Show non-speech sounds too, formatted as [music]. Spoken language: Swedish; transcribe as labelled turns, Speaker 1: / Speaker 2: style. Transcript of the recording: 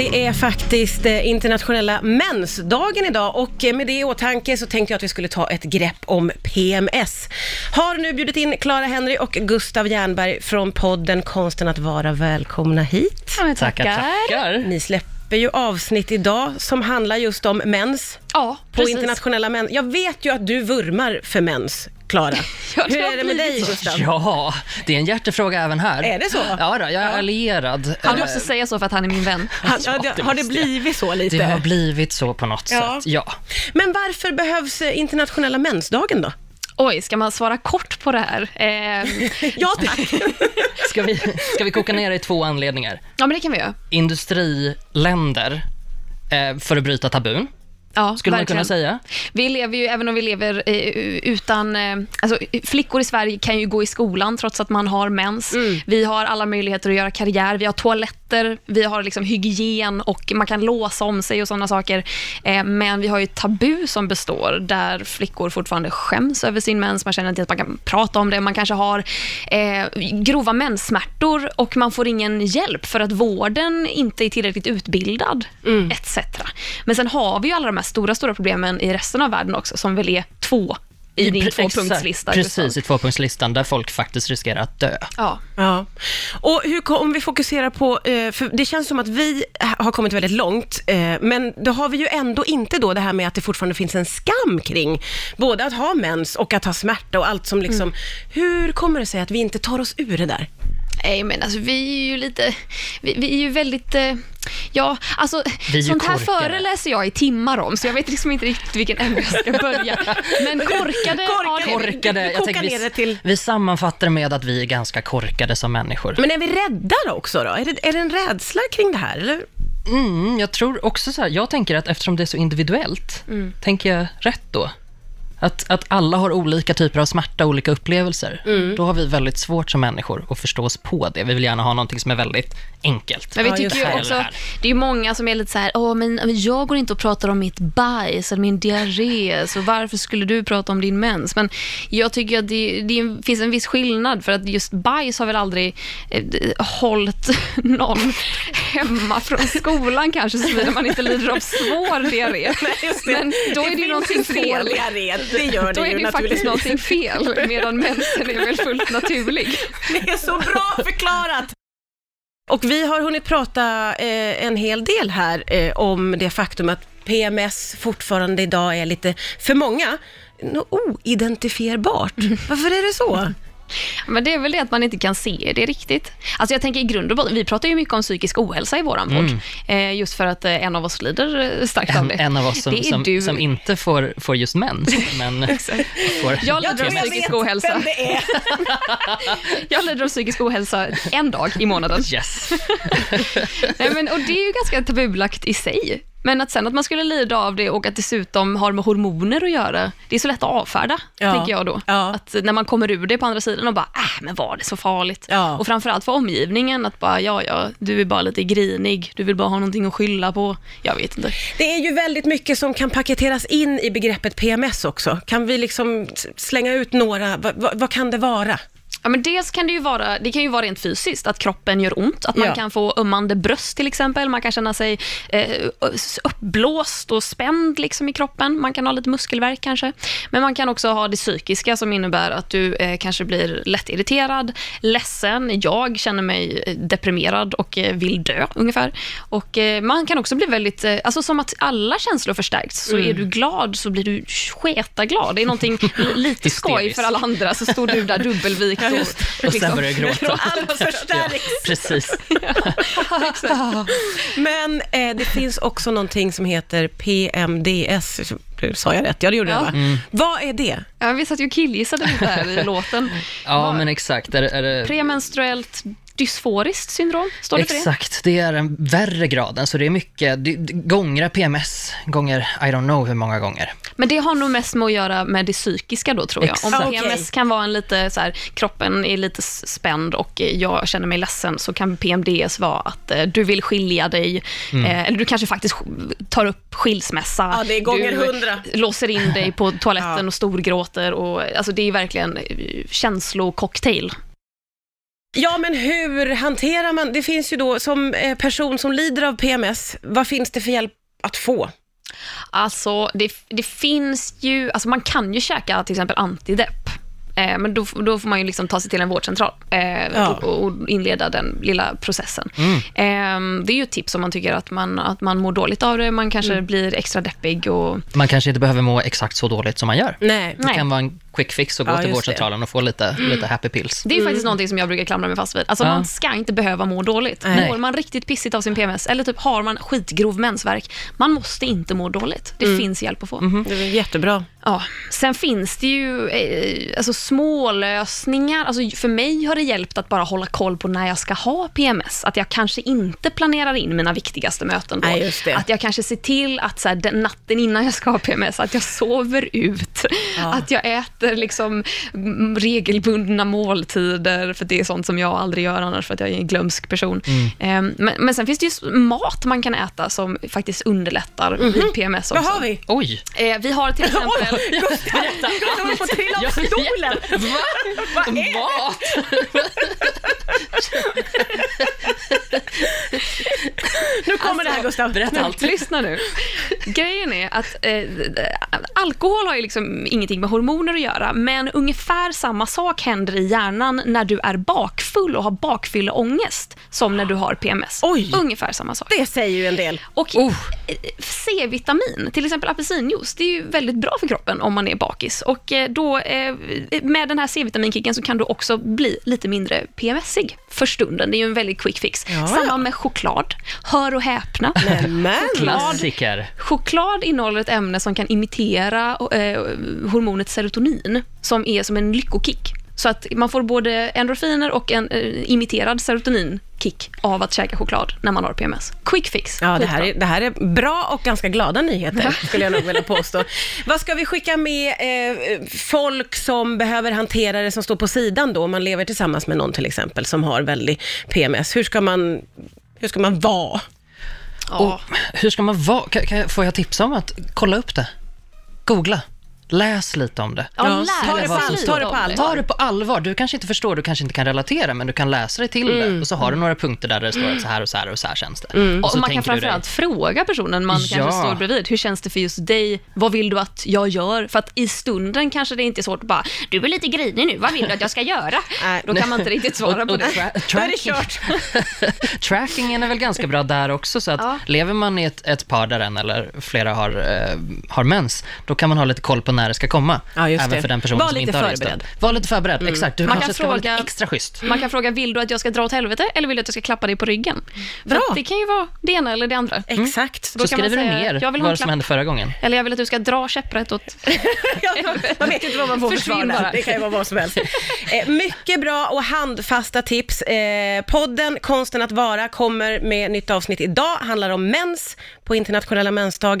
Speaker 1: Det är faktiskt eh, internationella mensdagen idag och eh, med det i åtanke så tänkte jag att vi skulle ta ett grepp om PMS. Har nu bjudit in Clara Henry och Gustav Jernberg från podden Konsten att vara välkomna hit.
Speaker 2: Ja, men
Speaker 3: Tackar,
Speaker 2: tackar.
Speaker 3: tackar.
Speaker 1: Ni släpper ju avsnitt idag som handlar just om mens
Speaker 2: Ja,
Speaker 1: på
Speaker 2: precis.
Speaker 1: internationella mens. Jag vet ju att du vurmar för mens,
Speaker 3: [laughs]
Speaker 1: Clara.
Speaker 2: Ja, det
Speaker 1: Hur
Speaker 2: har
Speaker 1: är det med dig,
Speaker 2: blivit så.
Speaker 1: Gustav?
Speaker 3: Ja, det är en hjärtefråga även här.
Speaker 1: Är det så?
Speaker 3: Ja, då, jag är allierad.
Speaker 2: Han
Speaker 3: Eh,
Speaker 2: måste säga så för att han är min vän.
Speaker 1: Har, har, det- har det blivit så lite?
Speaker 3: Det har blivit så på något
Speaker 1: Ja.
Speaker 3: sätt, ja.
Speaker 1: Men varför behövs eh, internationella mensdagen då?
Speaker 2: Oj, ska man svara kort på det här? [laughs] Eh,
Speaker 1: Ja, tack.
Speaker 3: Ska vi, ska vi koka ner det i två anledningar?
Speaker 2: ja, men det kan vi göra.
Speaker 3: Industriländer, eh, för att bryta tabun,
Speaker 2: Ja,
Speaker 3: skulle man
Speaker 2: verkligen.
Speaker 3: kunna säga.
Speaker 2: Vi lever ju, även om vi lever eh, utan... Eh, alltså, flickor i Sverige kan ju gå i skolan trots att man har mens. Vi har alla möjligheter att göra karriär. Vi har toaletter, vi har liksom hygien och man kan låsa om sig och sådana saker. Eh, men vi har ju ett tabu som består där flickor fortfarande skäms över sin mens. Man känner inte att man kan prata om det. Man kanske har eh, grova menssmärtor och man får ingen hjälp för att vården inte är tillräckligt utbildad
Speaker 3: Mm.
Speaker 2: etc. Men sen har vi ju alla de här stora, stora problemen i resten av världen också som väl är två i din
Speaker 3: Pre- exakt,
Speaker 2: tvåpunktslista.
Speaker 3: Precis,
Speaker 2: Gustav.
Speaker 3: i tvåpunktslistan, där folk faktiskt riskerar att dö.
Speaker 2: Ja.
Speaker 1: Ja. Och hur, kom- om vi fokuserar på, eh, för det känns som att vi har kommit väldigt långt, eh, men då har vi ju ändå inte då det här med att det fortfarande finns en skam kring både att ha mens och att ha smärta och allt som
Speaker 2: Mm.
Speaker 1: liksom, hur kommer det sig att vi inte tar oss ur det där?
Speaker 2: Nej, men alltså vi är ju lite... Vi, vi är ju väldigt... Eh, ja, alltså
Speaker 3: Vi är ju
Speaker 2: sånt här
Speaker 3: korkade.
Speaker 2: föreläser jag i timmar om, så jag vet liksom inte riktigt vilken ämne jag ska
Speaker 3: [laughs]
Speaker 2: börja. Men korkade... ja, det-
Speaker 3: Korkade,
Speaker 1: Du- du
Speaker 3: jag tänker
Speaker 1: kokar ner det
Speaker 3: vi,
Speaker 1: till-
Speaker 3: vi sammanfattar med att vi är ganska korkade som människor.
Speaker 1: Men är vi rädda då också då? Är det, är det en rädsla kring det här? Eller?
Speaker 3: Mm, jag tror också så här, jag tänker att eftersom det är så individuellt,
Speaker 2: Mm.
Speaker 3: tänker jag rätt då? Att, att alla har olika typer av smärta, olika upplevelser.
Speaker 2: Mm.
Speaker 3: Då har vi väldigt svårt som människor att förstå oss på det. Vi vill gärna ha någonting som är väldigt enkelt.
Speaker 2: Men vi
Speaker 1: Ja, just
Speaker 2: tycker ju
Speaker 3: det.
Speaker 2: också,
Speaker 3: Eller här.
Speaker 2: det är ju många som är lite så här, åh men jag går inte och pratar om mitt bajs eller min diarré, så varför skulle du prata om din mens? Men jag tycker att det, det finns en viss skillnad, för att just bajs har väl aldrig eh, d- hållit [laughs] någon hemma från skolan kanske, såvida man inte lider av svår diarré. [laughs] Men
Speaker 1: [laughs]
Speaker 2: då är det ju någonting fel.
Speaker 1: Det gör
Speaker 2: Då
Speaker 1: det
Speaker 2: är
Speaker 1: ju
Speaker 2: det ju
Speaker 1: naturligtvis.
Speaker 2: faktiskt någonting fel, medan mensen är väl fullt naturlig.
Speaker 1: Det är så bra förklarat! Och vi har hunnit prata eh, en hel del här eh, om det faktum att PMS fortfarande idag är lite, för många, nå- oidentifierbart. Varför är det
Speaker 2: [laughs]
Speaker 1: så?
Speaker 2: Men det är väl det att man inte kan se det riktigt. Alltså jag tänker i grund och botten, vi pratar ju mycket om psykisk ohälsa i våran podd. Eh, just för att eh, en av oss lider eh, starkt av
Speaker 3: Mm. En,
Speaker 2: det.
Speaker 3: en av oss som,
Speaker 2: det är
Speaker 3: som,
Speaker 2: du.
Speaker 3: som inte får, får just mens,
Speaker 2: [laughs]
Speaker 3: men får...
Speaker 2: Jag lider
Speaker 3: tror
Speaker 2: av
Speaker 3: jag
Speaker 2: [laughs] psykisk ohälsa.
Speaker 1: det är.
Speaker 2: [laughs] Jag lider av psykisk ohälsa en dag i
Speaker 3: [laughs]
Speaker 2: månaden.
Speaker 3: Yes.
Speaker 2: Nej, men, och det är ju ganska tabubelagt i sig. Men att sen att man skulle lida av det och att dessutom har med hormoner att göra, det är så lätt att avfärda,
Speaker 1: Ja.
Speaker 2: tänker jag då.
Speaker 1: Ja.
Speaker 2: Att när man kommer ur det på andra sidan och bara, äh, men var det så farligt?
Speaker 1: Ja.
Speaker 2: Och framförallt för omgivningen, att bara, ja, ja, du är bara lite grinig, du vill bara ha någonting att skylla på. Jag vet inte.
Speaker 1: Det är ju väldigt mycket som kan paketeras in i begreppet PMS också. Kan vi liksom s- slänga ut några, vad, vad, vad kan det vara?
Speaker 2: Ja, men dels kan det, ju vara, det kan ju vara rent fysiskt, att kroppen gör ont. Att man
Speaker 1: Ja.
Speaker 2: kan få ömmande bröst till exempel. Man kan känna sig eh, uppblåst och spänd liksom, i kroppen. Man kan ha lite muskelvärk kanske. Men man kan också ha det psykiska som innebär att du eh, kanske blir lättirriterad, ledsen. Jag känner mig eh, deprimerad och eh, vill dö ungefär. Och eh, Man kan också bli väldigt... Eh, alltså som att alla känslor förstärks. Så är du glad så blir du sketaglad. Det är någonting li- lite skoj
Speaker 3: Hysteriskt.
Speaker 2: för alla andra så står du där dubbelvikt och, liksom
Speaker 3: Och sen börjar jag gråta.
Speaker 1: [laughs] Allt förstärks.
Speaker 3: Precis.
Speaker 2: [laughs]
Speaker 1: Men eh, det finns också någonting som heter PMDS. Sa jag rätt? Ja, det gjorde jag
Speaker 2: Ja.
Speaker 1: va? Vad är det?
Speaker 2: Ja, vi satt ju och killgissade lite där i låten.
Speaker 3: Ja,
Speaker 2: Vad-
Speaker 3: men exakt. Är, det- är det...
Speaker 2: Premenstruellt dysforiskt syndrom, står det för det?
Speaker 3: Exakt, det är en värre graden, så det är mycket, det, det, gångra PMS, gånger, I don't know hur många gånger.
Speaker 2: Men det har nog mest med att göra med det psykiska då, tror jag.
Speaker 3: Exakt.
Speaker 2: Om PMS kan vara en lite så här, kroppen är lite s- spänd och eh, jag känner mig ledsen, så kan PMDS vara att eh, du vill skilja dig, eh, eller du kanske faktiskt sk- tar upp skilsmässa.
Speaker 1: Ja, det är gånger
Speaker 2: du
Speaker 1: 100.
Speaker 2: låser in dig på toaletten
Speaker 1: Ja.
Speaker 2: eh, och storgråter och alltså det är verkligen eh, känslococktail.
Speaker 1: Ja, men hur hanterar man, det finns ju då som eh, person som lider av PMS, vad finns det för hjälp att få?
Speaker 2: Alltså, det, det finns ju... Alltså man kan ju käka till exempel antidepp. Eh, men då, då får man ju liksom ta sig till en vårdcentral eh,
Speaker 1: Ja. Mm.
Speaker 2: och, och inleda den lilla processen. Eh, det är ju ett tips om man tycker att man, att man mår dåligt av det. Man kanske
Speaker 1: Mm.
Speaker 2: blir extra deppig. Och,
Speaker 3: Man kanske inte behöver må exakt så dåligt som man gör.
Speaker 1: Nej.
Speaker 3: Det
Speaker 2: Mm. Nej.
Speaker 3: kan vara en quick fix och gå
Speaker 1: Ja,
Speaker 3: till
Speaker 1: just
Speaker 3: vårdcentralen och få lite, lite happy pills.
Speaker 2: Mm. det
Speaker 1: Mm.
Speaker 2: är ju faktiskt någonting som jag brukar klamra mig fast vid. Alltså,
Speaker 3: Ja.
Speaker 2: Man ska inte behöva må dåligt.
Speaker 1: Nej.
Speaker 2: Mår man riktigt pissigt av sin PMS eller typ har man skitgrov mensvärk, man måste inte må dåligt. Det
Speaker 1: Mm.
Speaker 2: finns hjälp att få.
Speaker 1: Det är jättebra.
Speaker 2: Ja, sen finns det ju eh, alltså, små lösningar. Alltså, för mig har det hjälpt att bara hålla koll på när jag ska ha PMS. Att jag kanske inte planerar in mina viktigaste möten då.
Speaker 1: Nej, just det.
Speaker 2: Att jag kanske ser till att så här, den natten innan jag ska ha PMS, att jag sover ut. Att jag äter liksom, mm, regelbundna måltider, för det är sånt som jag aldrig gör annars, för att jag är en glömsk person.
Speaker 1: Mm.
Speaker 2: Eh, Men, men sen finns det ju s- mat man kan äta som faktiskt underlättar vid PMS också.
Speaker 1: Mhm. Vad har vi?
Speaker 3: Oj!
Speaker 2: Eh,
Speaker 1: [laughs]
Speaker 2: vi har till exempel...
Speaker 1: Oj, Gustav, Gustav håller på att trilla av stolen.
Speaker 3: Vad Mat!
Speaker 1: Nu kommer det här Gustav.
Speaker 3: Berätta allt.
Speaker 2: Lyssna nu. Grejen är att eh, alkohol har ju liksom ingenting med hormoner att göra, men ungefär samma sak händer i hjärnan när du är bakfull och har bakfylleångest som när du har PMS.
Speaker 1: Oj.
Speaker 2: Ungefär samma sak.
Speaker 1: Det säger ju en del.
Speaker 2: Och eh, C-vitamin, till exempel apelsinjuice, det är ju väldigt bra för kroppen om man är bakis. Och eh, då, eh, med den här C-vitaminkicken så kan du också bli lite mindre PMSig för stunden. Det är ju en väldigt quick fix.
Speaker 1: Ja,
Speaker 2: Samma
Speaker 1: ja.
Speaker 2: med choklad. Hör och häpna.
Speaker 1: Men, men.
Speaker 3: Klassiker.
Speaker 2: Choklad innehåller ett ämne som kan imitera eh, hormonet serotonin, som är som en lyckokick. Så att man får både endorfiner och en eh, imiterad serotoninkick av att käka choklad när man har PMS. Quick fix.
Speaker 1: Ja, det
Speaker 2: Skitbra.
Speaker 1: här, är, det här är bra och ganska glada nyheter, skulle jag nog vilja påstå. Vad ska vi skicka med eh, folk som behöver hantera det som står på sidan då, om man lever tillsammans med någon till exempel, som har väldigt PMS? Hur ska man, hur ska man vara?
Speaker 2: ja.
Speaker 3: Hur ska man vara? Kan, kan, jag- får jag tipsa om att kolla upp det? Googla. Läs lite om det.
Speaker 2: Ja,
Speaker 1: Ja,
Speaker 2: lär
Speaker 1: ta
Speaker 2: dig
Speaker 1: det på
Speaker 2: vad
Speaker 1: all-
Speaker 2: som
Speaker 1: ta det
Speaker 2: står
Speaker 1: på
Speaker 2: om
Speaker 1: all-
Speaker 2: dig.
Speaker 3: Ta det på allvar. Du kanske inte förstår, du kanske inte kan relatera, men du kan läsa dig till det. Och så har du några punkter där det står att så här och så här och så här känns det. Och så
Speaker 2: Mm. Och man kan
Speaker 3: tänker du dig,
Speaker 2: framförallt fråga personen man
Speaker 3: Ja.
Speaker 2: kanske står bredvid. Hur känns det för just dig? Vad vill du att jag gör? För att i stunden kanske det inte är svårt att bara, du är lite grinig nu, vad vill du att jag ska göra?
Speaker 1: [laughs] Nej.
Speaker 2: Då kan man inte riktigt svara
Speaker 3: Och-
Speaker 2: på
Speaker 3: och
Speaker 2: det.
Speaker 3: tra-
Speaker 1: Då är det
Speaker 3: tracking-
Speaker 1: kört.
Speaker 3: [laughs] Trackingen är väl ganska bra där också, så att
Speaker 2: Ja.
Speaker 3: lever man i ett, ett par där en eller flera har, eh, har mens, då kan man ha lite koll på när det ska komma.
Speaker 1: Ja, just
Speaker 3: även
Speaker 1: det.
Speaker 3: för den personen
Speaker 1: Var
Speaker 3: som
Speaker 1: lite
Speaker 3: inte har just det.
Speaker 1: förberedd.
Speaker 3: Var lite förberedd, exakt. Du
Speaker 2: Mm. Man kan
Speaker 3: kanske ska vara lite
Speaker 2: fråga-
Speaker 3: extra schysst.
Speaker 2: Man kan fråga, vill du att jag ska dra åt helvete eller vill du att jag ska klappa dig på ryggen? För
Speaker 1: Bra. Eh.
Speaker 2: att det kan ju vara det ena eller det andra.
Speaker 1: Mm. Exakt. [laughs]
Speaker 2: Då
Speaker 3: Så
Speaker 2: kan man
Speaker 3: skriver du
Speaker 2: säga,
Speaker 3: ner
Speaker 2: jag vill ha
Speaker 3: vad
Speaker 2: en
Speaker 3: som
Speaker 2: klapp.
Speaker 3: hände förra gången.
Speaker 2: Eller jag vill att du ska dra käpprätt åt...
Speaker 1: Ja, man vet inte vad man får för
Speaker 2: Försvinn
Speaker 1: svar där.
Speaker 2: bara.
Speaker 1: Det kan ju vara vad som helst. Eh, Mycket bra och handfasta tips. Eh, Podden Konsten att vara kommer med nytt avsnitt idag. Handlar om mens på internationella mensdagen.